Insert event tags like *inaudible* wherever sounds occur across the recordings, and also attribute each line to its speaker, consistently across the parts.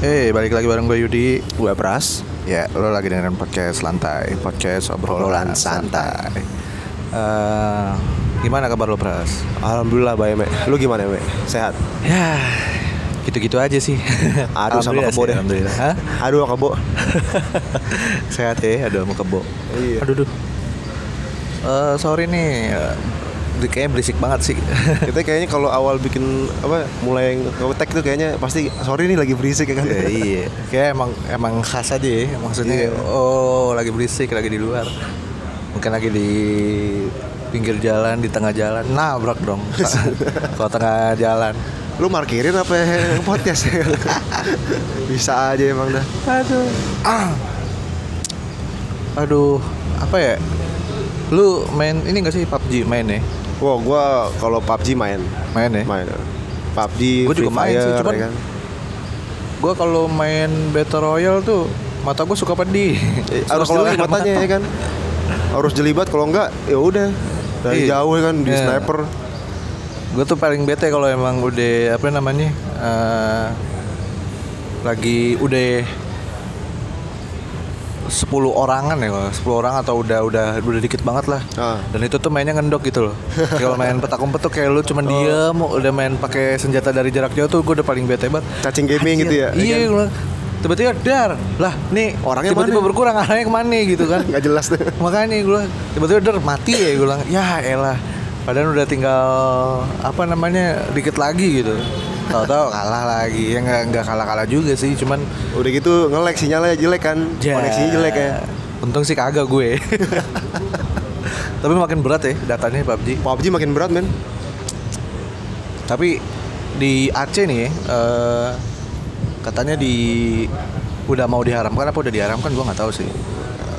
Speaker 1: Hey, balik lagi bareng gue Yudi Gue Pras Ya, lo lagi dengerin podcast lantai Podcast obrolan
Speaker 2: Obrolan santai.
Speaker 1: santai Eh, Gimana kabar lo Pras?
Speaker 2: Alhamdulillah baik, Mek. Lu gimana, Mek? Sehat?
Speaker 1: Ya, gitu-gitu aja sih
Speaker 2: *laughs* Aduh sama
Speaker 1: Alhamdulillah
Speaker 2: kebo
Speaker 1: sih,
Speaker 2: deh.
Speaker 1: Alhamdulillah Hah?
Speaker 2: Aduh sama kebo.
Speaker 1: *laughs* Sehat ya, aduh mau kebo
Speaker 2: Iya.
Speaker 1: Aduh, duh Eh, Sorry nih eh, Kayaknya berisik banget sih *laughs*
Speaker 2: Kita kayaknya kalau awal bikin apa mulai ngetek tuh kayaknya pasti sorry nih lagi berisik ya kan.
Speaker 1: Ya, iya, kayak emang emang khas aja ya. Maksudnya
Speaker 2: Iya.
Speaker 1: oh lagi berisik lagi di luar, mungkin lagi di pinggir jalan di tengah jalan nabrak
Speaker 2: *laughs*
Speaker 1: dong. Kalau tengah jalan,
Speaker 2: Lu markirin apa podcast ya? *laughs* Bisa aja emang dah.
Speaker 1: aduh, aduh, apa ya? Lu main ini gak sih PUBG main ya?
Speaker 2: Wah, gua kalau PUBG main.
Speaker 1: Main ya?
Speaker 2: Main. PUBG,
Speaker 1: Gua juga
Speaker 2: Free
Speaker 1: main sih,
Speaker 2: Fire,
Speaker 1: cuman-
Speaker 2: ya kan?
Speaker 1: Gue kalau main Battle Royale tuh mata gue suka pedih.
Speaker 2: Eh, harus jeli matanya ya kan. Harus jelibat kalau enggak ya udah dari
Speaker 1: Iya.
Speaker 2: jauh ya kan di
Speaker 1: Iya.
Speaker 2: sniper.
Speaker 1: gue tuh paling bete kalau emang udah apa namanya eh, lagi udah 10 orangan ya kalau 10 orang atau udah udah udah dikit banget lah
Speaker 2: Ah.
Speaker 1: dan itu tuh mainnya ngendok
Speaker 2: *laughs*
Speaker 1: gitu loh kalau main petak umpet tuh kayak lu cuman
Speaker 2: Oh.
Speaker 1: diem udah main pakai senjata dari jarak jauh tuh gue udah paling bete banget
Speaker 2: Cacing gaming gitu ya, ya
Speaker 1: iya gua bilang, tiba-tiba dar lah nih
Speaker 2: Orangnya
Speaker 1: tiba-tiba
Speaker 2: mana?
Speaker 1: berkurang arahnya kemana gitu
Speaker 2: *laughs*
Speaker 1: kan
Speaker 2: Enggak jelas deh.
Speaker 1: makanya gue bilang, tiba-tiba der mati ya gue bilang ya elah padahal udah tinggal apa namanya dikit lagi gitu tahu-tahu kalah lagi ya nggak nggak kalah-kalah juga sih cuman
Speaker 2: Udah gitu nge-lag sinyalnya jelek kan.
Speaker 1: ya,
Speaker 2: Koneksinya jelek ya.
Speaker 1: untung sih kagak gue tapi makin berat ya datanya PUBG
Speaker 2: PUBG makin berat men
Speaker 1: tapi di Aceh nih eh, katanya di udah mau diharamkan apa udah diharamkan gue nggak tahu sih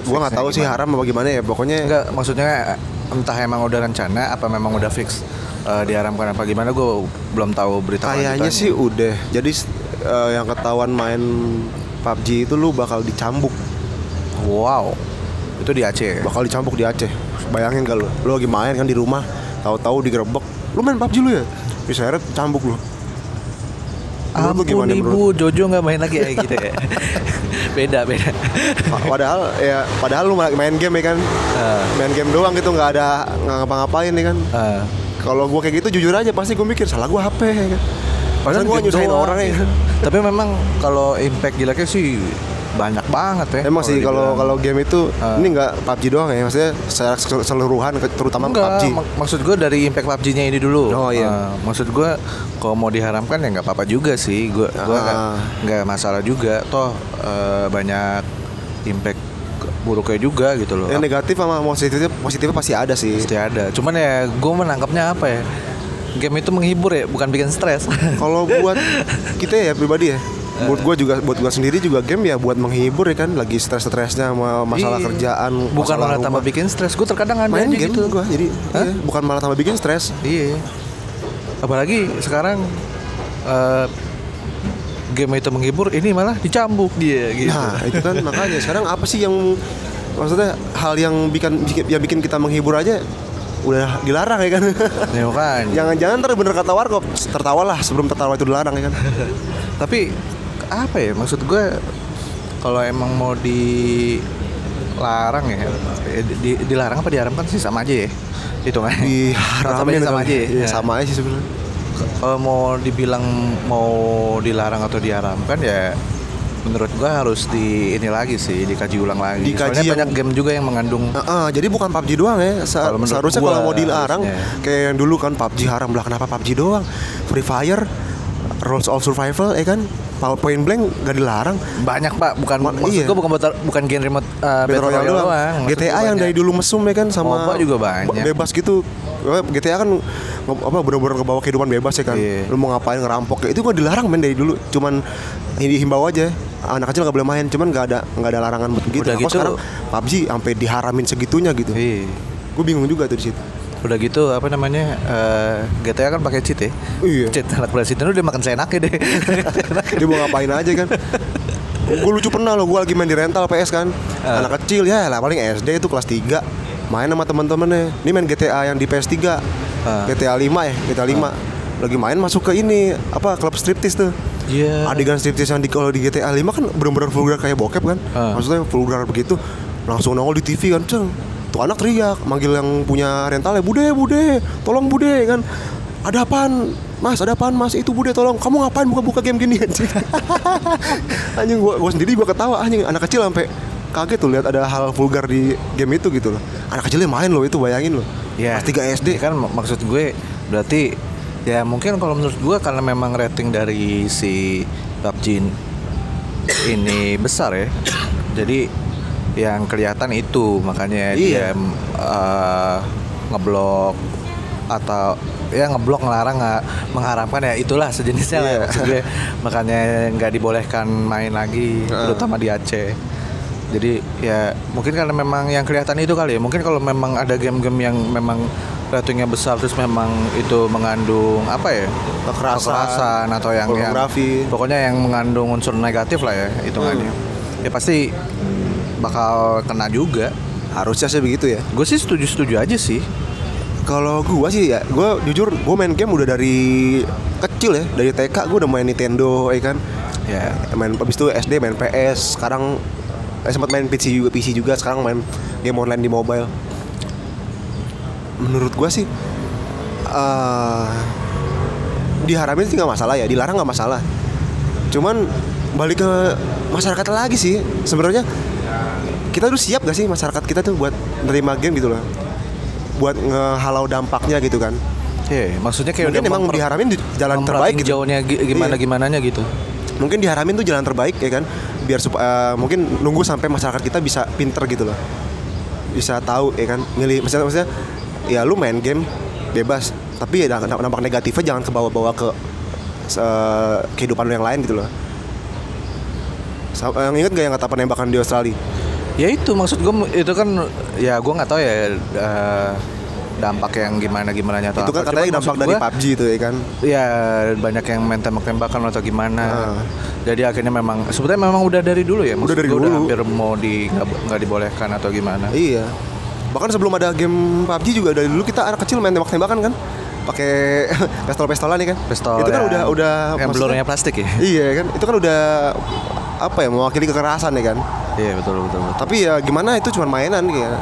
Speaker 2: Gua nggak tahu sih haram apa gimana ya Pokoknya
Speaker 1: Enggak, maksudnya entah emang udah rencana apa memang udah fix eh, diharamkan apa gimana gue belum tahu berita
Speaker 2: kayaknya
Speaker 1: lanjutannya.
Speaker 2: sih udah Jadi s- eh, yang ketahuan main PUBG itu lu bakal dicambuk
Speaker 1: Wow. Itu di Aceh.
Speaker 2: Bakal dicambuk di Aceh Bayangin gak lu Lu lagi main kan di rumah tahu-tahu digerebek Lu main PUBG lu ya? Diseret cambuk lu Menurut lu
Speaker 1: Ampun
Speaker 2: menurut lu?
Speaker 1: ibu, Jojo nggak main lagi kayak gitu ya. *laughs* beda, beda.
Speaker 2: Pa- Padahal ya padahal lu ma- main game ya kan
Speaker 1: Eh,
Speaker 2: Main game doang gitu nggak ada nggak ngapa-ngapain ya kan
Speaker 1: eh.
Speaker 2: Kalau gua kayak gitu jujur aja pasti gua mikir salah gua HP ya kan Padahal gua
Speaker 1: game
Speaker 2: nyusahin
Speaker 1: doang,
Speaker 2: orang ya
Speaker 1: gitu.
Speaker 2: kan
Speaker 1: Tapi memang kalau impact jeleknya sih banyak banget ya.
Speaker 2: Emang sih kalau
Speaker 1: dibilang.
Speaker 2: kalau game itu
Speaker 1: Ah.
Speaker 2: ini nggak PUBG doang ya maksudnya secara keseluruhan ke- terutama
Speaker 1: Enggak,
Speaker 2: PUBG.
Speaker 1: mak- maksud gue dari impact PUBG-nya ini dulu.
Speaker 2: Oh, iya.
Speaker 1: Eh, maksud gue kalau mau diharamkan ya nggak apa-apa juga sih. Gue gua
Speaker 2: Ah.
Speaker 1: nggak nggak masalah juga. Toh eh, banyak impact buruknya juga gitu loh.
Speaker 2: Yang negatif sama positifnya positifnya pasti ada sih.
Speaker 1: Pasti ada. Cuman ya gue menangkapnya apa ya? Game itu menghibur ya, bukan bikin stres.
Speaker 2: Kalau buat kita ya pribadi ya, buat gua juga buat gua sendiri juga game ya buat menghibur ya kan lagi stres-stresnya sama *laughs* masalah
Speaker 1: Iya.
Speaker 2: kerjaan,
Speaker 1: bukan
Speaker 2: masalah
Speaker 1: malah tambah
Speaker 2: rumah.
Speaker 1: bikin stres. Gue terkadang ada
Speaker 2: main
Speaker 1: aja
Speaker 2: game
Speaker 1: gitu.
Speaker 2: gua jadi
Speaker 1: Hah?
Speaker 2: iya, bukan malah tambah bikin stres.
Speaker 1: Iya. Apalagi sekarang eh, game itu menghibur, ini malah dicambuk dia gitu.
Speaker 2: Nah itu
Speaker 1: *laughs*
Speaker 2: kan makanya sekarang apa sih yang maksudnya hal yang bikin yang bikin kita menghibur aja udah dilarang ya kan. *laughs*
Speaker 1: Ya makanya.
Speaker 2: Jangan-jangan ntar bener kata warkop Tertawalah sebelum tertawa itu dilarang
Speaker 1: *laughs*
Speaker 2: ya kan
Speaker 1: Tapi apa ya maksud gue kalau emang mau dilarang ya eh, di- dilarang apa diharamkan sih sama aja ya hitungannya
Speaker 2: Diharamin
Speaker 1: sama aja ya,
Speaker 2: Iya,
Speaker 1: Ya.
Speaker 2: Sama aja sih sebenarnya
Speaker 1: kalau mau dibilang mau dilarang atau diharamkan ya menurut gua harus di ini lagi sih dikaji ulang lagi. Soalnya
Speaker 2: Dikaji yang-
Speaker 1: banyak game juga yang mengandung
Speaker 2: Nah, eh, Jadi bukan PUBG doang ya Se-
Speaker 1: Kalau menurut
Speaker 2: Seharusnya
Speaker 1: gua
Speaker 2: kalau mau dilarang
Speaker 1: harusnya.
Speaker 2: Kayak yang dulu kan PUBG haram Lah kenapa PUBG doang Free Fire Rules of Survival ya kan Point Blank gak dilarang
Speaker 1: banyak pak bukan
Speaker 2: Ma-
Speaker 1: maksud
Speaker 2: iya.
Speaker 1: gua bukan battle- bukan genre remote uh,
Speaker 2: Battle Royale doang,
Speaker 1: Maksud gua
Speaker 2: GTA yang
Speaker 1: banyak.
Speaker 2: dari dulu mesum ya kan sama
Speaker 1: MOBA juga banyak.
Speaker 2: be- bebas gitu Eh, GTA kan nge- apa bener-bener ke bawah kehidupan bebas ya kan
Speaker 1: Iya.
Speaker 2: lu mau ngapain ngerampok ya, itu gua dilarang men dari dulu cuman ini himbau aja anak kecil nggak boleh main cuman nggak ada nggak ada larangan buat begitu
Speaker 1: Udah
Speaker 2: Nah, kok
Speaker 1: gitu-
Speaker 2: sekarang PUBG sampai diharamin segitunya gitu
Speaker 1: Iya.
Speaker 2: gue bingung juga tuh di situ
Speaker 1: Udah gitu apa namanya eh, GTA kan pakai cheat ya.
Speaker 2: Iya.
Speaker 1: Cheat anak presiden udah makan seenaknya
Speaker 2: *laughs*
Speaker 1: deh.
Speaker 2: dia mau ngapain aja kan gue lucu pernah loh gue lagi main di rental PS kan anak kecil ya lah paling SD itu kelas 3 main sama teman-temannya ini main GTA yang di PS3
Speaker 1: Ah.
Speaker 2: GTA 5 ya GTA 5 lagi main masuk ke ini apa klub striptis tuh
Speaker 1: Iya.
Speaker 2: adegan striptease yang di kalau di GTA 5 kan benar-benar vulgar kayak bokep kan
Speaker 1: Ah.
Speaker 2: maksudnya vulgar begitu langsung nongol di TV kan ceng tuh anak teriak manggil yang punya rentalnya bude bude tolong bude kan ada apaan Mas, ada apaan mas? Itu bude tolong. Kamu ngapain buka-buka game gini *laughs* anjing? anjing gua, gua sendiri gua ketawa anjing anak kecil sampai kaget tuh lihat ada hal vulgar di game itu gitu loh. Anak kecilnya main loh itu bayangin loh.
Speaker 1: Ya.
Speaker 2: Mas 3 SD.
Speaker 1: Ya kan mak- maksud gue berarti ya mungkin kalau menurut gue karena memang rating dari si PUBG ini besar ya. Jadi yang kelihatan itu makanya dia
Speaker 2: Iya.
Speaker 1: m- eh, ngeblok atau ya ngeblok ngelarang nggak mengharamkan ya itulah sejenisnya lah
Speaker 2: Iya.
Speaker 1: maksud gue. makanya nggak dibolehkan main lagi
Speaker 2: Heeh.
Speaker 1: terutama di Aceh jadi ya mungkin karena memang yang kelihatan itu kali ya mungkin kalau memang ada game-game yang memang ratingnya besar terus memang itu mengandung apa ya
Speaker 2: Kekerasan,
Speaker 1: Kekerasan atau yang yang-
Speaker 2: pornografi.
Speaker 1: pokoknya yang mengandung unsur negatif lah ya hitungannya
Speaker 2: Hmm.
Speaker 1: ya pasti bakal kena juga
Speaker 2: Harusnya sih begitu ya.
Speaker 1: gue sih setuju setuju aja sih
Speaker 2: Kalau gua sih ya, gua jujur gua main game udah dari kecil ya, dari TK gua udah main Nintendo, ya kan.
Speaker 1: ya
Speaker 2: Main habis itu SD main PS, sekarang eh, sempat main PC juga, PC juga, sekarang main game online di mobile. Menurut gua sih eh diharamin sih nggak masalah ya, dilarang nggak masalah. Cuman balik ke masyarakat lagi sih sebenarnya kita tuh siap gak sih masyarakat kita tuh buat nerima game gitu loh buat ngehalau dampaknya gitu kan
Speaker 1: ya maksudnya kayak
Speaker 2: mungkin
Speaker 1: udah
Speaker 2: emang
Speaker 1: memper-
Speaker 2: diharamin di jalan terbaik
Speaker 1: memperhatiin
Speaker 2: gitu
Speaker 1: jauhnya gi- gimana
Speaker 2: Iya.
Speaker 1: gimananya gitu
Speaker 2: mungkin diharamin tuh jalan terbaik ya kan biar sup- eh, mungkin nunggu sampai masyarakat kita bisa pinter gitu loh bisa tahu ya kan milih maksudnya, maksudnya ya lu main game bebas tapi ya dampak dampak negatifnya jangan ke bawa-bawa ke eh, kehidupan lu yang lain gitu loh Sa- eh, ingat gak yang kata penembakan di Australia
Speaker 1: ya itu maksud gue itu kan ya gue nggak tahu ya eh, dampak yang gimana gimana atau apa.
Speaker 2: itu kan
Speaker 1: Cuman
Speaker 2: katanya
Speaker 1: maksud
Speaker 2: dampak dari
Speaker 1: gua,
Speaker 2: PUBG itu ya kan
Speaker 1: ya banyak yang main tembak-tembakan atau gimana
Speaker 2: Ah.
Speaker 1: jadi akhirnya memang sebetulnya memang udah dari dulu ya maksud
Speaker 2: dari
Speaker 1: gua udah
Speaker 2: dulu.
Speaker 1: hampir mau di nggak bo- nggak dibolehkan atau gimana
Speaker 2: Iya. Bahkan sebelum ada game PUBG juga dari dulu kita anak kecil main tembak-tembakan kan. Pakai *laughs* pistol-pistolan nih kan.
Speaker 1: pistol ya.
Speaker 2: Itu kan
Speaker 1: yang-
Speaker 2: udah udah
Speaker 1: yang
Speaker 2: maksudnya-
Speaker 1: blurnya plastik ya
Speaker 2: Iya kan. Itu kan udah apa ya mewakili kekerasan ya kan.
Speaker 1: iya betul betul, betul.
Speaker 2: Tapi ya gimana itu cuma mainan kayak.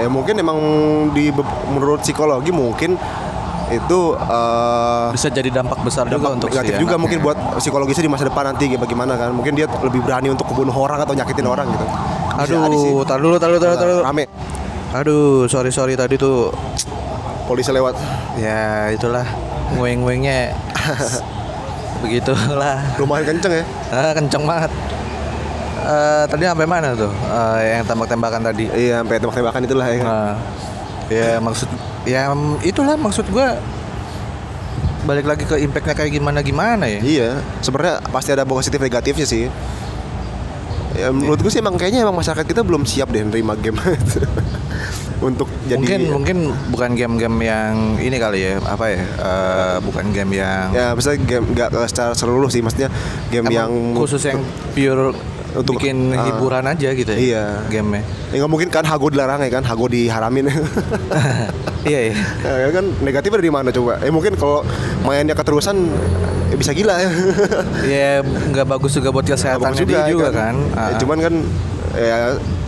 Speaker 2: Eh mungkin emang di be- menurut psikologi mungkin itu eh
Speaker 1: bisa jadi dampak besar juga
Speaker 2: dampak
Speaker 1: untuk si
Speaker 2: negatif juga
Speaker 1: anaknya.
Speaker 2: mungkin buat psikologisnya di masa depan nanti kayak bagaimana kan mungkin dia lebih berani untuk kebunuh orang atau nyakitin orang gitu Bisa jadi sih.
Speaker 1: aduh tar dulu tar dulu tar dulu, tar dulu.
Speaker 2: rame
Speaker 1: aduh sorry sorry tadi tuh
Speaker 2: polisi lewat
Speaker 1: ya itulah
Speaker 2: *laughs*
Speaker 1: ngueng-nguengnya begitulah
Speaker 2: lumayan kenceng ya
Speaker 1: Ah, kenceng banget. Eh, tadi sampai mana tuh? Eh, yang tembak-tembakan tadi.
Speaker 2: iya sampai tembak-tembakan itulah ya kan?
Speaker 1: Nah, ya maksud ya mm, itulah maksud gua balik lagi ke impactnya kayak gimana gimana ya.
Speaker 2: iya sebenarnya pasti ada positif negatifnya sih ya, menurut gue sih emang kayaknya emang masyarakat kita belum siap deh nerima game *laughs* untuk jadi
Speaker 1: mungkin mungkin bukan game-game yang ini kali ya apa ya? eh, bukan game yang
Speaker 2: ya misalnya game nggak secara seluruh sih maksudnya game
Speaker 1: emang
Speaker 2: yang
Speaker 1: khusus yang pure
Speaker 2: Untuk-
Speaker 1: bikin
Speaker 2: ah.
Speaker 1: hiburan aja gitu ya.
Speaker 2: Iya.
Speaker 1: Game-nya.
Speaker 2: ya nggak mungkin kan hago dilarang ya kan hago diharamin *laughs*
Speaker 1: iya, iya.
Speaker 2: ya kan negatifnya dari mana coba eh mungkin kalau mainnya keterusan ya bisa gila *laughs* ya
Speaker 1: Ya nggak bagus juga buat kesehatan
Speaker 2: Bagus
Speaker 1: juga, dia juga
Speaker 2: ya
Speaker 1: kan. Ah,
Speaker 2: Ya,
Speaker 1: ah.
Speaker 2: cuman kan ya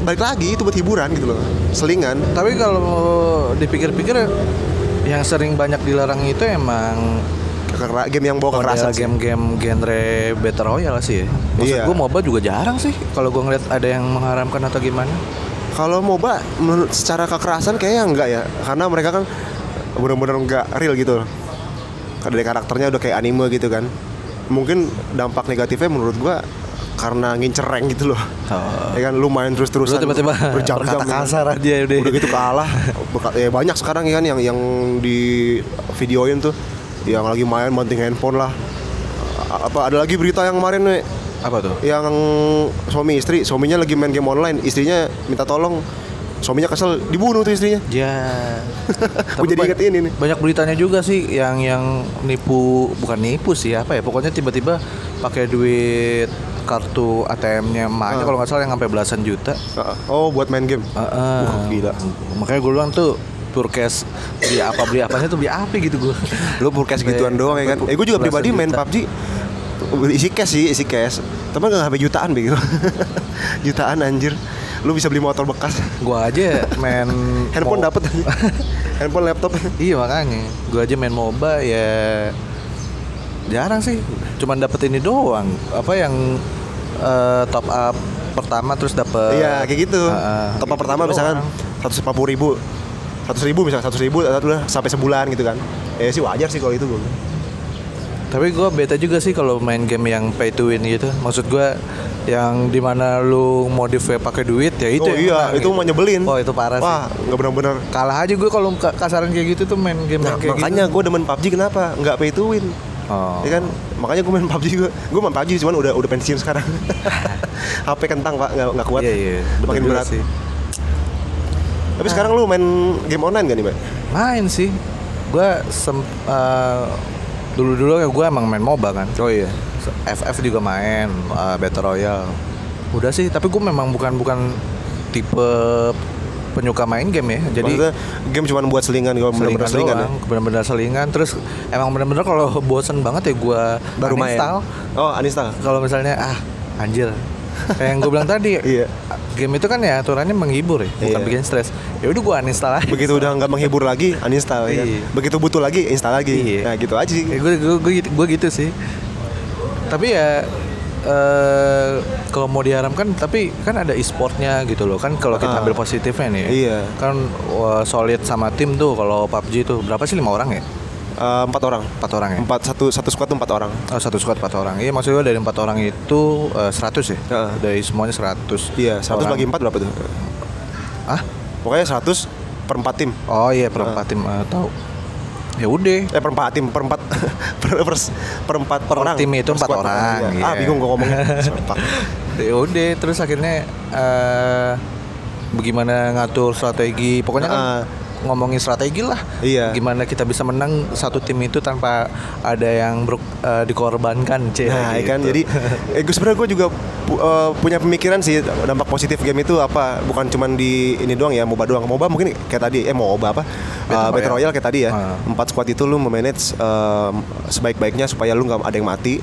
Speaker 2: balik lagi itu buat hiburan gitu loh selingan
Speaker 1: Tapi kalau dipikir-pikir yang sering banyak dilarang itu emang
Speaker 2: Kekera- game yang bawa
Speaker 1: model
Speaker 2: kekerasan sih.
Speaker 1: game-game genre battle royale sih. Ya. Maksud
Speaker 2: Iya.
Speaker 1: gue MOBA juga jarang sih. Kalau gue ngeliat ada yang mengharamkan atau gimana.
Speaker 2: kalau MOBA menurut secara kekerasan kayaknya enggak ya karena mereka kan benar-benar enggak real gitu loh dari karakternya udah kayak anime gitu kan mungkin dampak negatifnya menurut gua karena ngincereng gitu loh
Speaker 1: Oh.
Speaker 2: ya kan lu main terus-terusan
Speaker 1: Lu tiba-tiba
Speaker 2: berjam-jam
Speaker 1: berkata kasar aja ya. udah.
Speaker 2: udah gitu kalah Berka- ya banyak sekarang ya kan yang yang di videoin tuh yang lagi main banting handphone lah A- apa ada lagi berita yang kemarin nih
Speaker 1: Apa tuh?
Speaker 2: yang suami istri suaminya lagi main game online istrinya minta tolong suaminya kesel dibunuh tuh istrinya
Speaker 1: Ya. Tapi
Speaker 2: jadi
Speaker 1: ba-
Speaker 2: inget ini nih.
Speaker 1: Banyak beritanya juga sih yang yang nipu bukan nipu sih apa ya? Pokoknya tiba-tiba pakai duit kartu ATM-nya emaknya
Speaker 2: Ah.
Speaker 1: kalau nggak salah yang sampai belasan juta.
Speaker 2: Heeh. oh buat main game
Speaker 1: Heeh.
Speaker 2: Wah, gila.
Speaker 1: Makanya gue bilang tuh Turkes beli apa beli apanya tuh beli apa gitu gue.
Speaker 2: Iya. lu purkes gituan doang ya kan eh gue juga pribadi main PUBG beli isi cash sih isi cash tapi nggak sampai jutaan begitu *laughs* jutaan anjir lu bisa beli motor bekas
Speaker 1: Gua aja main
Speaker 2: handphone
Speaker 1: mo-
Speaker 2: dapet
Speaker 1: *laughs*
Speaker 2: handphone laptop
Speaker 1: Iya makanya. Gua aja main MOBA ya jarang sih. Cuman dapet ini doang. Apa yang eh, top up pertama terus dapet
Speaker 2: Iya kayak gitu.
Speaker 1: Heeh.
Speaker 2: Top up
Speaker 1: Gitu
Speaker 2: pertama
Speaker 1: doang.
Speaker 2: misalkan seratus empat puluh ribu, seratus ribu misalkan seratus ribu udah sampai sebulan gitu kan. Ya sih wajar sih kalau itu gue.
Speaker 1: Tapi gua beta juga sih kalau main game yang pay to win gitu. Maksud gua yang dimana lu modif pakai duit ya itu
Speaker 2: oh
Speaker 1: yang
Speaker 2: iya,
Speaker 1: menang
Speaker 2: itu
Speaker 1: gitu.
Speaker 2: mau nyebelin.
Speaker 1: Oh itu parah sih.
Speaker 2: Wah, nggak benar-benar.
Speaker 1: Kalah aja gue kalau ka- kasaran kayak gitu tuh main game yang
Speaker 2: Nah,
Speaker 1: kayak
Speaker 2: makanya
Speaker 1: gitu.
Speaker 2: gue demen PUBG kenapa? Nggak pay to win.
Speaker 1: Oh.
Speaker 2: Ya kan, makanya gue main PUBG gue. Gue main PUBG cuman udah udah pensiun
Speaker 1: *laughs*
Speaker 2: sekarang. HP kentang pak, nggak nggak kuat.
Speaker 1: Iya iya. betul
Speaker 2: Makin
Speaker 1: juga
Speaker 2: berat.
Speaker 1: sih. Nah.
Speaker 2: Tapi sekarang lu main game online gak nih mbak?
Speaker 1: Main sih. Gue sem eh, dulu-dulu ya gue emang main MOBA kan. Oh iya. FF juga main eh, Battle Royale. Udah sih, tapi gue memang bukan bukan tipe penyuka main game ya. Jadi
Speaker 2: Maksudnya game cuman buat selingan, gue bener-bener selingan ya.
Speaker 1: doang, bener-bener selingan. Terus emang bener-bener kalau bosen banget ya gue
Speaker 2: Baru main.
Speaker 1: uninstall.
Speaker 2: Oh, uninstall.
Speaker 1: kalau misalnya ah anjir kayak yang gue bilang tadi
Speaker 2: *laughs* Iya.
Speaker 1: game itu kan ya aturannya menghibur ya bukan
Speaker 2: Iya.
Speaker 1: bikin stres ya udah gue uninstall aja
Speaker 2: begitu udah nggak menghibur lagi uninstall ya kan?
Speaker 1: Iya.
Speaker 2: begitu butuh lagi install lagi
Speaker 1: Iya.
Speaker 2: nah gitu aja sih
Speaker 1: gue gitu, gua gitu sih tapi ya eh kalau mau diharamkan tapi kan ada e-sportnya gitu loh kan kalau kita
Speaker 2: Ah.
Speaker 1: ambil positifnya nih
Speaker 2: Iya.
Speaker 1: kan wah, solid sama tim tuh kalau PUBG tuh berapa sih lima orang ya
Speaker 2: Eh, empat orang
Speaker 1: empat orang ya
Speaker 2: empat satu satu squad tuh empat orang
Speaker 1: Oh, satu squad empat orang iya maksud gue dari empat orang itu eh, 100 ya
Speaker 2: Heeh.
Speaker 1: dari semuanya 100
Speaker 2: iya 100
Speaker 1: orang.
Speaker 2: bagi empat berapa tuh
Speaker 1: ah
Speaker 2: pokoknya 100 per empat tim
Speaker 1: Oh iya perempat tim eh, tahu. Ya udah.
Speaker 2: eh per empat tim per empat *laughs* per, per, per empat
Speaker 1: Per
Speaker 2: orang
Speaker 1: tim itu
Speaker 2: Per
Speaker 1: empat
Speaker 2: squad
Speaker 1: orang,
Speaker 2: iya.
Speaker 1: iya.
Speaker 2: ah bingung gua ngomongnya
Speaker 1: *laughs*
Speaker 2: Serpak.
Speaker 1: Ya udah terus akhirnya eh bagaimana ngatur strategi. Pokoknya kan
Speaker 2: Heeh.
Speaker 1: ngomongin strategi lah.
Speaker 2: Iya.
Speaker 1: Gimana kita bisa menang satu tim itu tanpa ada yang ber, eh, dikorbankan, C. Gitu.
Speaker 2: Nah, ya kan jadi eh, gue sebenarnya gue juga pu- eh, punya pemikiran sih dampak positif game itu apa bukan cuman di ini doang ya MOBA doang. MOBA mungkin kayak tadi eh MOBA apa?
Speaker 1: Battle
Speaker 2: Eh, Battle
Speaker 1: Royale.
Speaker 2: Royale kayak tadi ya.
Speaker 1: Ah.
Speaker 2: Empat squad itu lu memanage eh, sebaik-baiknya supaya lu nggak ada yang mati.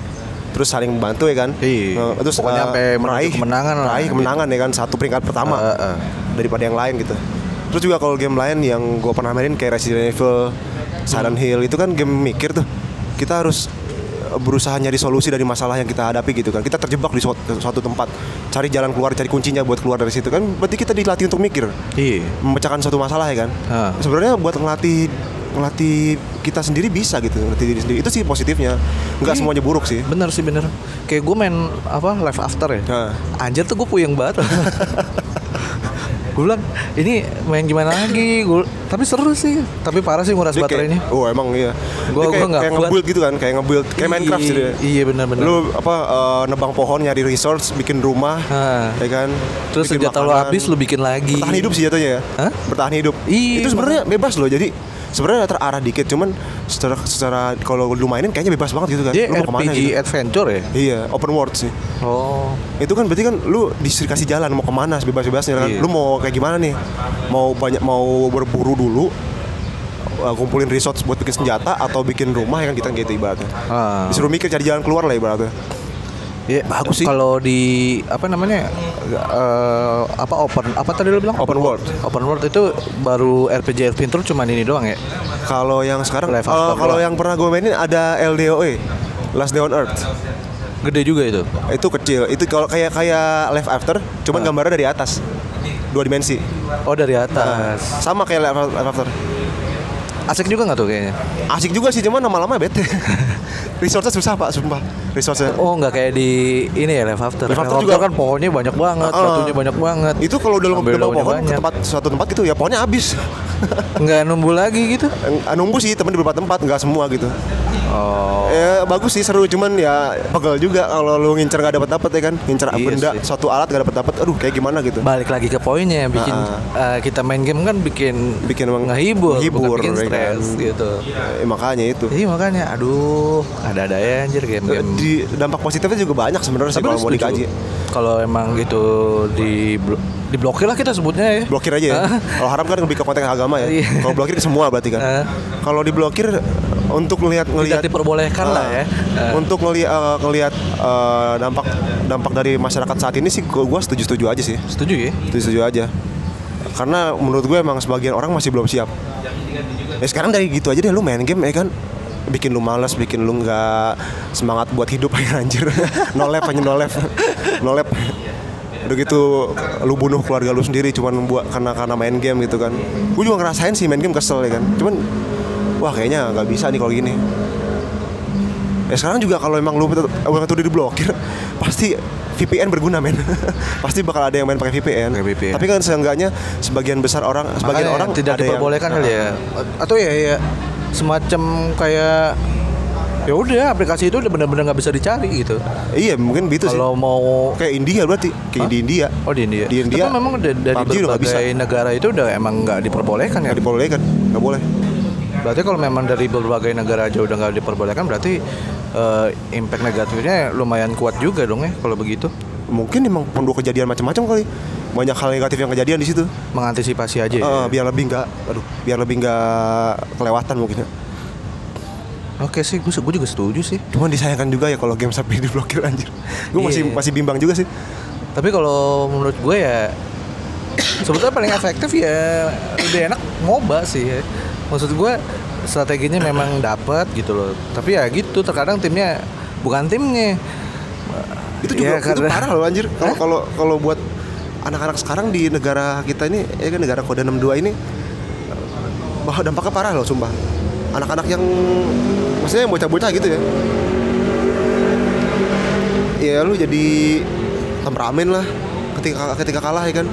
Speaker 2: Terus saling membantu ya kan.
Speaker 1: Iya.
Speaker 2: Eh, terus
Speaker 1: Pokoknya
Speaker 2: eh,
Speaker 1: sampai menuju kemenangan lah,
Speaker 2: meraih
Speaker 1: gitu.
Speaker 2: kemenangan ya kan satu peringkat pertama
Speaker 1: Eh, eh.
Speaker 2: daripada yang lain gitu. Terus juga kalau game lain yang gue pernah mainin kayak Resident Evil, Silent Hill itu kan game mikir tuh. Kita harus eh, berusaha nyari solusi dari masalah yang kita hadapi gitu kan. Kita terjebak di suat- suatu, tempat, cari jalan keluar, cari kuncinya buat keluar dari situ kan. Berarti kita dilatih untuk mikir,
Speaker 1: Iya.
Speaker 2: memecahkan suatu masalah ya kan.
Speaker 1: Ah.
Speaker 2: Sebenarnya buat ngelatih ngelatih kita sendiri bisa gitu, ngelatih diri sendiri. Itu sih positifnya. Nggak semuanya buruk sih.
Speaker 1: Bener sih bener. Kayak gue main apa live after ya.
Speaker 2: Heeh.
Speaker 1: Anjir tuh gue puyeng
Speaker 2: *laughs*
Speaker 1: banget. gue bilang ini main gimana lagi Gua- tapi seru sih tapi parah sih nguras
Speaker 2: Dia
Speaker 1: baterainya
Speaker 2: Kayak, oh emang iya.
Speaker 1: Gua-
Speaker 2: Dia kayak,
Speaker 1: gua nggak
Speaker 2: kayak
Speaker 1: kuat.
Speaker 2: nge-build gitu kan, kayak nge-build kayak Minecraft gitu ya. sih dia.
Speaker 1: Iya, Iya benar-benar.
Speaker 2: Lu apa eh, nebang pohon nyari resource, bikin rumah,
Speaker 1: Ha.
Speaker 2: ya kan?
Speaker 1: terus
Speaker 2: Bikin
Speaker 1: senjata lu
Speaker 2: makanan.
Speaker 1: habis lu bikin lagi.
Speaker 2: Bertahan hidup sih jatuhnya ya.
Speaker 1: Hah?
Speaker 2: Bertahan hidup.
Speaker 1: Iya,
Speaker 2: Itu sebenarnya bebas loh. Jadi sebenarnya terarah dikit cuman secara secara kalau lu mainin kayaknya bebas banget gitu kan.
Speaker 1: Dia
Speaker 2: lu mau kemana
Speaker 1: RPG
Speaker 2: gitu.
Speaker 1: adventure ya.
Speaker 2: Iya, open world sih.
Speaker 1: Oh.
Speaker 2: Itu kan berarti kan lu dikasih jalan mau kemana bebas-bebasnya kan.
Speaker 1: Iya.
Speaker 2: Lu mau kayak gimana nih? Mau banyak mau berburu dulu uh, kumpulin resource buat bikin senjata atau bikin rumah ya kan kita gitu ibaratnya.
Speaker 1: Ah.
Speaker 2: Disuruh mikir cari jalan keluar lah ibaratnya.
Speaker 1: Iya,
Speaker 2: bagus sih.
Speaker 1: Kalau di apa namanya? eh, apa open apa tadi lu bilang?
Speaker 2: Open world.
Speaker 1: Open world itu baru RPG adventure cuman ini doang ya.
Speaker 2: Kalau yang sekarang
Speaker 1: Life
Speaker 2: eh,
Speaker 1: after
Speaker 2: kalau
Speaker 1: doang.
Speaker 2: yang pernah gue mainin ada LDOE E, Last Day on Earth.
Speaker 1: Gede juga itu.
Speaker 2: Itu kecil. Itu kalau kayak kayak Life After,
Speaker 1: Ah.
Speaker 2: cuman gambarnya dari atas. Dua dimensi.
Speaker 1: Oh, dari atas.
Speaker 2: Sama kayak Life Life After.
Speaker 1: Asik juga nggak tuh kayaknya?
Speaker 2: Asik juga sih, cuman lama-lama bete. *laughs* Resource-nya susah, Pak, sumpah. Resource-nya.
Speaker 1: Oh, nggak kayak di ini ya Life After.
Speaker 2: Life After
Speaker 1: After
Speaker 2: juga-
Speaker 1: kan pohonnya banyak banget,
Speaker 2: Ah.
Speaker 1: batunya banyak banget.
Speaker 2: itu kalau udah
Speaker 1: Ambil
Speaker 2: nebang
Speaker 1: daunnya
Speaker 2: pohon ke
Speaker 1: banyak.
Speaker 2: tempat suatu tempat gitu ya pohonnya habis
Speaker 1: nggak numbuh lagi gitu.
Speaker 2: Eng- nunggu sih temen di beberapa tempat nggak semua gitu
Speaker 1: Oh.
Speaker 2: ya bagus sih seru cuman ya pegel juga kalau lu ngincer nggak dapat dapat ya kan ngincer
Speaker 1: Iya
Speaker 2: benda
Speaker 1: sih.
Speaker 2: suatu alat nggak dapat dapat aduh kayak gimana gitu
Speaker 1: balik lagi ke poinnya bikin eh, kita main game kan bikin
Speaker 2: Bikin emang
Speaker 1: ngehibur,
Speaker 2: menghibur,
Speaker 1: bukan bikin
Speaker 2: ya kan.
Speaker 1: stres gitu.
Speaker 2: Eh, makanya itu
Speaker 1: Jadi makanya aduh ada-ada ya anjir game-game.
Speaker 2: di dampak positifnya juga banyak sebenarnya Eh, sih
Speaker 1: Tapi lu
Speaker 2: kalau mau
Speaker 1: setuju?
Speaker 2: dikaji
Speaker 1: Kalau emang gitu di bl- diblokir lah kita sebutnya ya.
Speaker 2: blokir aja ya. Kalau haram kan lebih ke konteks agama ya.
Speaker 1: Iya.
Speaker 2: Kalau blokir ke semua berarti kan.
Speaker 1: Ah.
Speaker 2: Kalau diblokir untuk ngelihat ngelihat
Speaker 1: Tidak diperbolehkan lah ya.
Speaker 2: Ah, untuk ngelihat ngelihat eh, dampak dampak dari masyarakat saat ini sih gua gua setuju-setuju aja sih.
Speaker 1: Setuju ya?
Speaker 2: Setuju-setuju aja. Karena menurut gue emang sebagian orang masih belum siap. Ya sekarang dari gitu aja deh lu main game ya kan bikin lu malas, bikin lu nggak semangat buat hidup *laughs* aja anjir. no lab hanya no lab. No lab. Udah gitu lu bunuh keluarga lu sendiri cuman buat karena karena main game gitu kan. Gue juga ngerasain sih main game kesel ya kan. Cuman wah kayaknya nggak bisa nih kalau gini. Ya sekarang juga kalau emang lu tetep- orang itu udah diblokir *laughs* pasti VPN berguna men. *laughs* pasti bakal ada yang main pakai VPN.
Speaker 1: Pakai VPN.
Speaker 2: Tapi kan seenggaknya sebagian besar orang sebagian
Speaker 1: Makanya
Speaker 2: orang
Speaker 1: tidak
Speaker 2: ada yang- Nah.
Speaker 1: diperbolehkan kali ya. Atau ya ya semacam kayak ya udah aplikasi itu udah benar-benar nggak bisa dicari gitu.
Speaker 2: Iya mungkin gitu sih.
Speaker 1: Kalau mau
Speaker 2: Kayak India berarti, kayak di India.
Speaker 1: Oh di India.
Speaker 2: Di India.
Speaker 1: Tapi memang da- dari
Speaker 2: PUBG udah nggak bisa.
Speaker 1: berbagai negara itu udah emang nggak diperbolehkan ya.
Speaker 2: Nggak diperbolehkan, kan, nggak boleh.
Speaker 1: Berarti kalau memang dari berbagai negara aja udah nggak diperbolehkan, berarti eh, impact negatifnya lumayan kuat juga dong ya kalau begitu.
Speaker 2: Mungkin emang perlu kejadian macam-macam kali. Banyak hal negatif yang kejadian di situ.
Speaker 1: Mengantisipasi aja. ya.
Speaker 2: Eh, biar lebih nggak, aduh, biar lebih nggak kelewatan mungkin. ya.
Speaker 1: Oke sih, gue juga setuju sih.
Speaker 2: Cuman disayangkan juga ya kalau game sampai *laughs* diblokir anjir. Gue masih
Speaker 1: Iya.
Speaker 2: masih bimbang juga sih.
Speaker 1: Tapi kalau menurut gue ya sebetulnya paling efektif ya lebih enak MOBA sih. ya. Maksud gue strateginya memang dapat gitu loh. Tapi ya gitu terkadang timnya bukan timnya.
Speaker 2: Itu
Speaker 1: Ya,
Speaker 2: juga itu
Speaker 1: karena-
Speaker 2: parah loh anjir. Kalau kalau kalau buat anak-anak sekarang di negara kita ini, ya kan negara kode 62 ini bahwa dampaknya parah loh sumpah. Anak-anak yang maksudnya yang bocah-bocah gitu ya. Ya lu jadi temperamen lah ketika ketika kalah ya kan.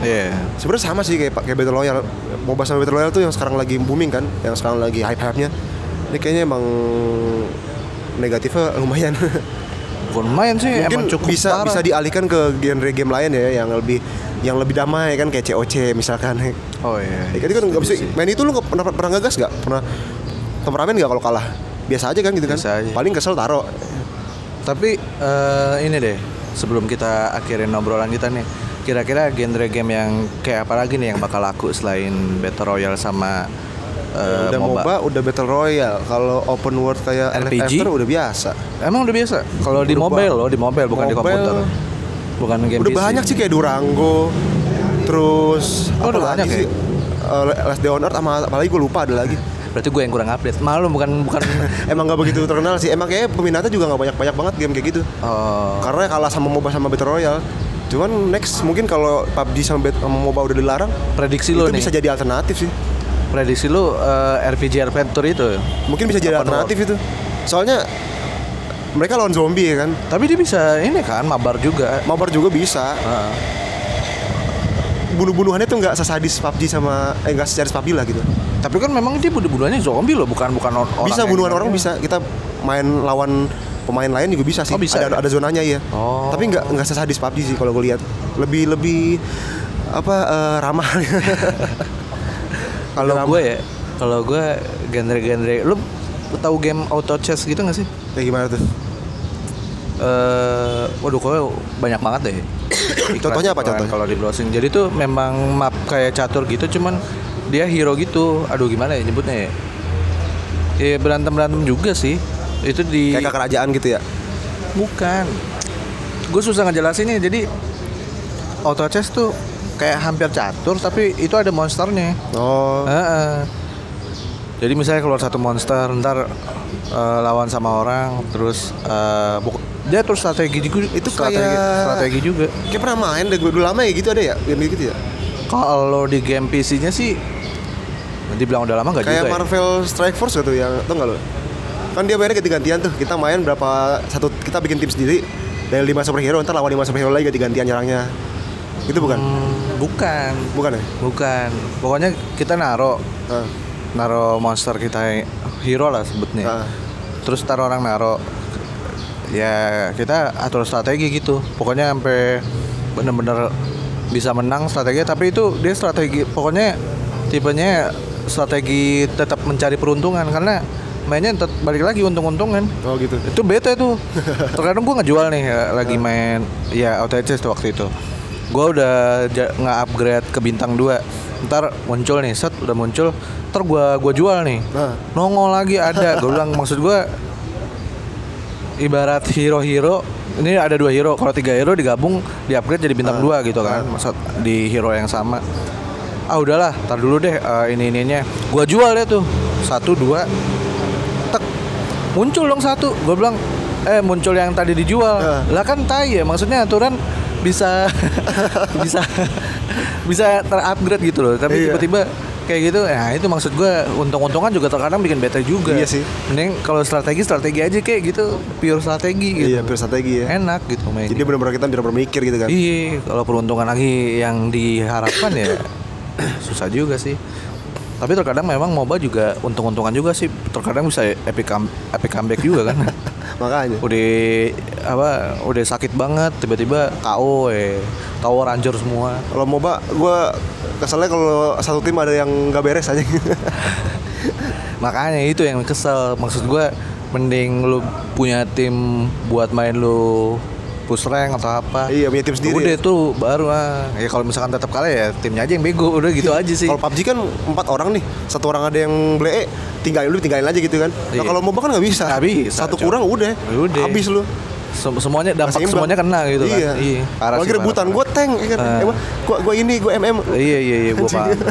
Speaker 1: Iya.
Speaker 2: Sebenarnya sama sih kayak kayak Battle Royale. MOBA sama Battle Royale tuh yang sekarang lagi booming kan, yang sekarang lagi hype-hype-nya. Ini kayaknya emang negatifnya lumayan. *laughs*
Speaker 1: Bukan main sih, Ya,
Speaker 2: mungkin
Speaker 1: emang cukup
Speaker 2: bisa
Speaker 1: parah.
Speaker 2: bisa dialihkan ke genre game lain ya yang lebih yang lebih damai kan kayak COC
Speaker 1: *laughs*
Speaker 2: misalkan
Speaker 1: Oh iya.
Speaker 2: ya, kan itu kan nggak bisa main itu lu nggak pernah pernah ngegas nggak pernah temperamen nggak kalau kalah biasa aja kan gitu kan
Speaker 1: Biasa aja.
Speaker 2: paling kesel taro
Speaker 1: Tapi eh, ini deh, sebelum kita akhirin obrolan kita nih, kira-kira genre game yang kayak apa lagi nih yang bakal laku selain Battle Royale sama eh,
Speaker 2: udah MOBA.
Speaker 1: MOBA?
Speaker 2: udah Battle Royale kalau open world kayak
Speaker 1: RPG?
Speaker 2: LFF udah biasa
Speaker 1: Emang udah biasa? Kalau di
Speaker 2: Udah
Speaker 1: mobile
Speaker 2: ba-
Speaker 1: loh, di mobile bukan di
Speaker 2: mobile.
Speaker 1: komputer. Bukan game
Speaker 2: udah
Speaker 1: PC.
Speaker 2: banyak sih kayak Durango terus
Speaker 1: Oh, udah banyak
Speaker 2: lagi
Speaker 1: ya?
Speaker 2: sih Eh, Last Day on Earth sama apalagi gue lupa ada lagi
Speaker 1: Berarti gue yang kurang update. Malu bukan *laughs* bukan
Speaker 2: emang nggak begitu terkenal sih emang kayaknya peminatnya juga nggak banyak banyak banget game kayak gitu
Speaker 1: oh,
Speaker 2: karena kalah sama MOBA sama Battle Royale. Cuman next mungkin kalau PUBG sama, Bet- sama MOBA udah dilarang,
Speaker 1: prediksi
Speaker 2: itu
Speaker 1: lu nih.
Speaker 2: bisa jadi alternatif sih.
Speaker 1: Prediksi lu eh, RPG Adventure itu.
Speaker 2: Mungkin bisa jadi
Speaker 1: Open
Speaker 2: alternatif itu. Soalnya mereka lawan zombie ya kan.
Speaker 1: Tapi dia bisa ini kan mabar juga.
Speaker 2: Mabar juga bisa.
Speaker 1: Heeh.
Speaker 2: Bunuh-bunuhannya tuh nggak sesadis PUBG sama eh nggak sesadis PUBG lah gitu.
Speaker 1: Tapi kan memang dia bunuh-bunuhannya zombie loh, bukan bukan or- orang.
Speaker 2: bisa
Speaker 1: yang-
Speaker 2: bunuhan orang bisa. Kita main lawan pemain lain juga bisa sih.
Speaker 1: Oh, bisa ya?
Speaker 2: ada ada zonanya iya.
Speaker 1: Oh.
Speaker 2: Tapi nggak nggak sesadis PUBG sih kalau gue lihat. Lebih lebih apa eh, ramah. *laughs*
Speaker 1: Kalau
Speaker 2: Ramah.
Speaker 1: gue ya, kalau gue genre-genre, lu tahu game auto chess gitu gak sih?
Speaker 2: ya gimana tuh?
Speaker 1: Eh, waduh, kok banyak banget
Speaker 2: *coughs*
Speaker 1: deh. Iklan-
Speaker 2: Contohnya apa,
Speaker 1: iklan
Speaker 2: contohnya?
Speaker 1: Kalau di browsing, jadi tuh memang map kayak catur gitu, cuman dia hero gitu. Aduh, gimana ya nyebutnya ya? Ya berantem berantem juga sih. Itu di
Speaker 2: Kayak kerajaan gitu ya.
Speaker 1: bukan. Gue susah ngejelasinnya. Jadi auto chess tuh kayak hampir catur, tapi itu ada monsternya.
Speaker 2: Oh.
Speaker 1: Heeh. Jadi misalnya keluar satu monster, ntar eh, lawan sama orang, terus eh, buk- dia terus strategi juga,
Speaker 2: Itu
Speaker 1: strategi,
Speaker 2: kayak-
Speaker 1: strategi juga.
Speaker 2: Kayak pernah main deh gue dulu lama ya gitu ada ya game gitu ya.
Speaker 1: Kalau di game PC-nya sih, nanti bilang udah lama nggak juga.
Speaker 2: Kayak
Speaker 1: ya?
Speaker 2: Marvel Strike Force gitu yang tau nggak lo? Kan dia mainnya ganti-gantian tuh. Kita main berapa satu kita bikin tim sendiri dari lima superhero ntar lawan lima superhero lagi ganti-gantian nyerangnya. Itu bukan?
Speaker 1: Hmm, bukan,
Speaker 2: Bukan ya?
Speaker 1: bukan. Pokoknya kita naro,
Speaker 2: Hah.
Speaker 1: naro monster kita hero lah
Speaker 2: Ah.
Speaker 1: sebutnya. Terus taruh orang naro, ya kita atur strategi gitu. Pokoknya sampai bener-bener bisa menang strategi. Tapi itu dia strategi, pokoknya tipenya strategi tetap mencari peruntungan karena mainnya tet- balik lagi untung-untungan.
Speaker 2: Oh gitu.
Speaker 1: itu bete tuh terkadang gue ngejual nih ya, lagi main ya OTC tuh waktu itu gue udah ja- nge-upgrade ke bintang 2 ntar muncul nih set udah muncul ntar gue gua jual nih
Speaker 2: Nah.
Speaker 1: nongol lagi ada gue bilang maksud gue ibarat hero-hero ini ada dua hero kalau tiga hero digabung di upgrade jadi bintang dua gitu kan maksud di hero yang sama ah udahlah tar dulu deh eh, ini ininya gua jual deh tuh satu dua tek muncul dong satu gue bilang eh muncul yang tadi dijual
Speaker 2: Ah.
Speaker 1: lah kan tai ya maksudnya aturan
Speaker 2: *laughs*
Speaker 1: bisa bisa bisa terupgrade gitu loh tapi
Speaker 2: Iya.
Speaker 1: tiba-tiba kayak gitu ya itu maksud gua untung-untungan juga terkadang bikin bete juga
Speaker 2: Iya sih.
Speaker 1: mending kalau strategi strategi aja kayak gitu pure strategi gitu
Speaker 2: Iya, pure strategi ya.
Speaker 1: enak gitu mainnya
Speaker 2: Jadi benar-benar kita tidak berpikir gitu kan.
Speaker 1: Iya, kalau peruntungan lagi yang diharapkan ya *coughs* susah juga sih. Tapi terkadang memang MOBA juga untung-untungan juga sih. Terkadang bisa epic come- epic comeback juga kan.
Speaker 2: *laughs* Makanya.
Speaker 1: udah apa? Udah sakit banget tiba-tiba KO eh tower hancur semua.
Speaker 2: Kalau MOBA gue keselnya kalau satu tim ada yang nggak beres aja. *laughs*
Speaker 1: Makanya itu yang kesel. Maksud gua mending lu punya tim buat main lu push rank atau apa.
Speaker 2: Iya, punya tim sendiri
Speaker 1: Udah
Speaker 2: ya.
Speaker 1: tuh baru ah. Ya kalau misalkan tetap kalah ya timnya aja yang bego. Udah gitu aja sih.
Speaker 2: kalau PUBG kan empat orang nih, satu orang ada yang blee, tinggalin lu tinggalin aja gitu kan. Nah,
Speaker 1: Iya.
Speaker 2: kalau MOBA kan nggak bisa.
Speaker 1: Nggak bisa,
Speaker 2: Satu
Speaker 1: coy.
Speaker 2: kurang udah.
Speaker 1: Udah.
Speaker 2: Habis lu.
Speaker 1: Sem- semuanya dampak
Speaker 2: Masih imbang.
Speaker 1: semuanya kena gitu kan.
Speaker 2: Iya.
Speaker 1: Iya. parah
Speaker 2: Apalagi
Speaker 1: sih,
Speaker 2: rebutan
Speaker 1: parah.
Speaker 2: gue tank ya kan.
Speaker 1: Ah.
Speaker 2: Eh, gua- gua gua ini gua MM.
Speaker 1: Iya iya iya gua
Speaker 2: Anjing. *laughs*
Speaker 1: paham.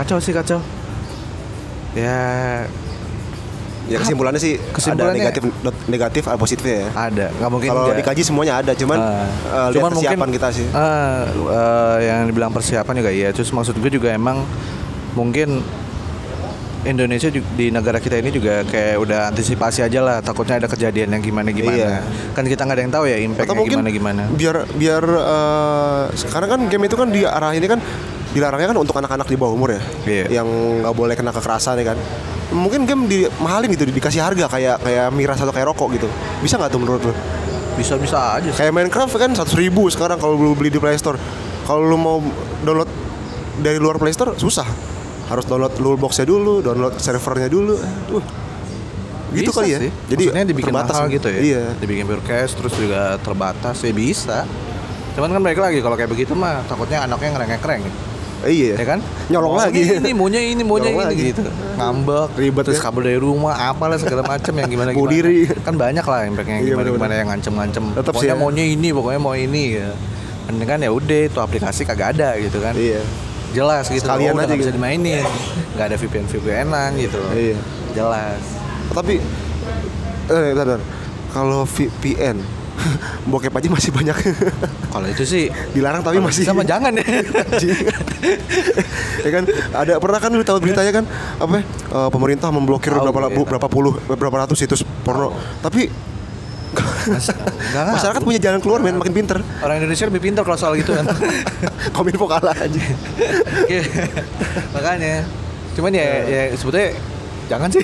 Speaker 1: Kacau sih kacau. Ya
Speaker 2: Ya kesimpulannya sih ada
Speaker 1: Kesimpulannya-
Speaker 2: negatif negatif ada positifnya ya.
Speaker 1: ada nggak mungkin
Speaker 2: Kalau
Speaker 1: nggak.
Speaker 2: dikaji semuanya ada, cuman
Speaker 1: Ah.
Speaker 2: eh, lihat persiapan kita sih.
Speaker 1: ah, eh, yang dibilang persiapan juga iya. Terus maksud gue juga emang mungkin Indonesia ju- di negara kita ini juga kayak udah antisipasi aja lah takutnya ada kejadian yang gimana gimana
Speaker 2: Iya.
Speaker 1: kan kita nggak ada yang tahu ya
Speaker 2: atau
Speaker 1: impactnya
Speaker 2: mungkin
Speaker 1: gimana gimana
Speaker 2: biar biar eh, sekarang kan game itu kan di arah ini kan dilarangnya kan untuk anak-anak di bawah umur ya
Speaker 1: Iya.
Speaker 2: yang nggak boleh kena kekerasan ya kan mungkin game dimahalin gitu di- dikasih harga kayak kayak miras atau kayak rokok gitu bisa nggak tuh menurut lo
Speaker 1: bisa bisa aja sih.
Speaker 2: kayak Minecraft kan seratus ribu sekarang kalau lu beli di Play Store kalau lu mau download dari luar Play Store susah harus download ruleboxnya dulu download servernya dulu uh, gitu
Speaker 1: Bisa
Speaker 2: kali ya
Speaker 1: sih. Maksudnya dibikin
Speaker 2: terbatas
Speaker 1: mahal gitu ya
Speaker 2: iya
Speaker 1: dibikin berkes terus juga terbatas ya bisa cuman kan mereka lagi kalau kayak begitu mah takutnya anaknya ngerengek kereng
Speaker 2: iya
Speaker 1: ya kan
Speaker 2: nyolong
Speaker 1: Maunya
Speaker 2: lagi
Speaker 1: ini maunya ini maunya
Speaker 2: Nyolong
Speaker 1: ini
Speaker 2: lagi.
Speaker 1: gitu ngambek
Speaker 2: Ribet
Speaker 1: terus
Speaker 2: ya.
Speaker 1: kabur dari rumah apalah segala macam yang gimana
Speaker 2: Bunuh
Speaker 1: gimana
Speaker 2: diri.
Speaker 1: kan banyak lah impactnya yang
Speaker 2: Iya,
Speaker 1: gimana gimana
Speaker 2: bener-bener.
Speaker 1: yang ngancem ngancem
Speaker 2: Tetep sih
Speaker 1: pokoknya
Speaker 2: ya.
Speaker 1: maunya ini pokoknya mau ini ya Mending kan ya udah itu aplikasi kagak ada gitu kan
Speaker 2: Iya.
Speaker 1: jelas gitu
Speaker 2: Sekalian
Speaker 1: udah
Speaker 2: aja
Speaker 1: nggak bisa
Speaker 2: gitu.
Speaker 1: dimainin nggak ada VPN VPNan gitu
Speaker 2: Iya.
Speaker 1: jelas
Speaker 2: Tapi eh bentar, bentar. Kalau VPN *laughs* bokep aja masih banyak *laughs*
Speaker 1: kalau itu sih
Speaker 2: dilarang tapi masih
Speaker 1: sama jangan ya
Speaker 2: Anjing. *laughs* ya kan ada pernah kan lu tahu beritanya kan apa ya, eh, pemerintah memblokir
Speaker 1: Tahu,
Speaker 2: berapa
Speaker 1: iya,
Speaker 2: bu- berapa puluh berapa ratus situs porno tapi
Speaker 1: Enggak, enggak.
Speaker 2: masyarakat punya jalan keluar men makin pinter *laughs*
Speaker 1: Orang Indonesia lebih pintar kalau soal gitu kan.
Speaker 2: kominfo kalah aja
Speaker 1: Iya. *laughs* Makanya. Cuman ya, ya sebetulnya jangan sih.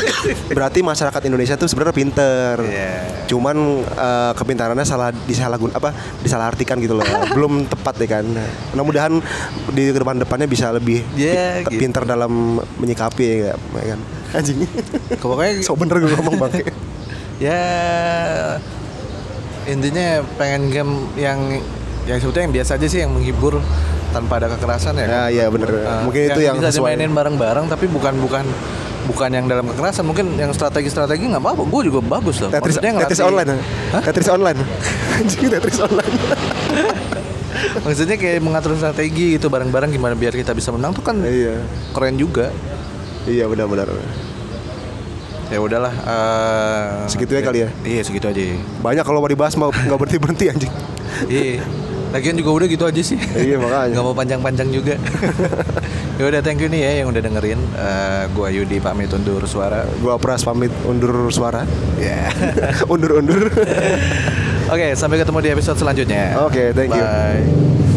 Speaker 1: *laughs*
Speaker 2: berarti masyarakat Indonesia tuh sebenarnya pinter
Speaker 1: Iya.
Speaker 2: cuman eh, kepintarannya salah disalahgun apa disalahartikan
Speaker 1: *laughs*
Speaker 2: gitu loh belum tepat ya kan mudah-mudahan di depan depannya bisa lebih
Speaker 1: Iya,
Speaker 2: pin-
Speaker 1: gitu.
Speaker 2: pinter dalam menyikapi ya nggak, ya kan *laughs* anjing
Speaker 1: Pokoknya
Speaker 2: so bener gue ngomong
Speaker 1: *laughs*
Speaker 2: bang
Speaker 1: ya intinya pengen game yang yang sebetulnya yang biasa aja sih yang menghibur tanpa ada kekerasan ya. kan?
Speaker 2: nah iya bener
Speaker 1: Eh,
Speaker 2: mungkin itu yang
Speaker 1: bisa
Speaker 2: sesuai
Speaker 1: dimainin bareng-bareng tapi bukan bukan bukan yang dalam kekerasan mungkin yang strategi-strategi nggak apa-apa gue juga bagus loh
Speaker 2: Tetris,
Speaker 1: Maksudnya
Speaker 2: Tetris
Speaker 1: ngelatih-
Speaker 2: online ya? Tetris online *laughs* anjing Tetris online
Speaker 1: *laughs* maksudnya kayak mengatur strategi itu bareng-bareng gimana biar kita bisa menang tuh kan
Speaker 2: iya
Speaker 1: keren juga
Speaker 2: iya benar-benar
Speaker 1: ya udahlah eh,
Speaker 2: Segitu ya kali ya?
Speaker 1: iya segitu aja
Speaker 2: banyak kalau mau dibahas mau nggak berhenti berhenti anjing
Speaker 1: iya lagian juga udah gitu aja sih
Speaker 2: Iya, makanya.
Speaker 1: nggak mau panjang-panjang
Speaker 2: *laughs*
Speaker 1: juga ya udah thank you nih ya yang udah dengerin Eh, gua Yudi pamit undur suara
Speaker 2: gua pras pamit undur suara
Speaker 1: ya
Speaker 2: *laughs* undur undur
Speaker 1: oke sampai ketemu di episode selanjutnya
Speaker 2: Oke, thank you.
Speaker 1: Bye.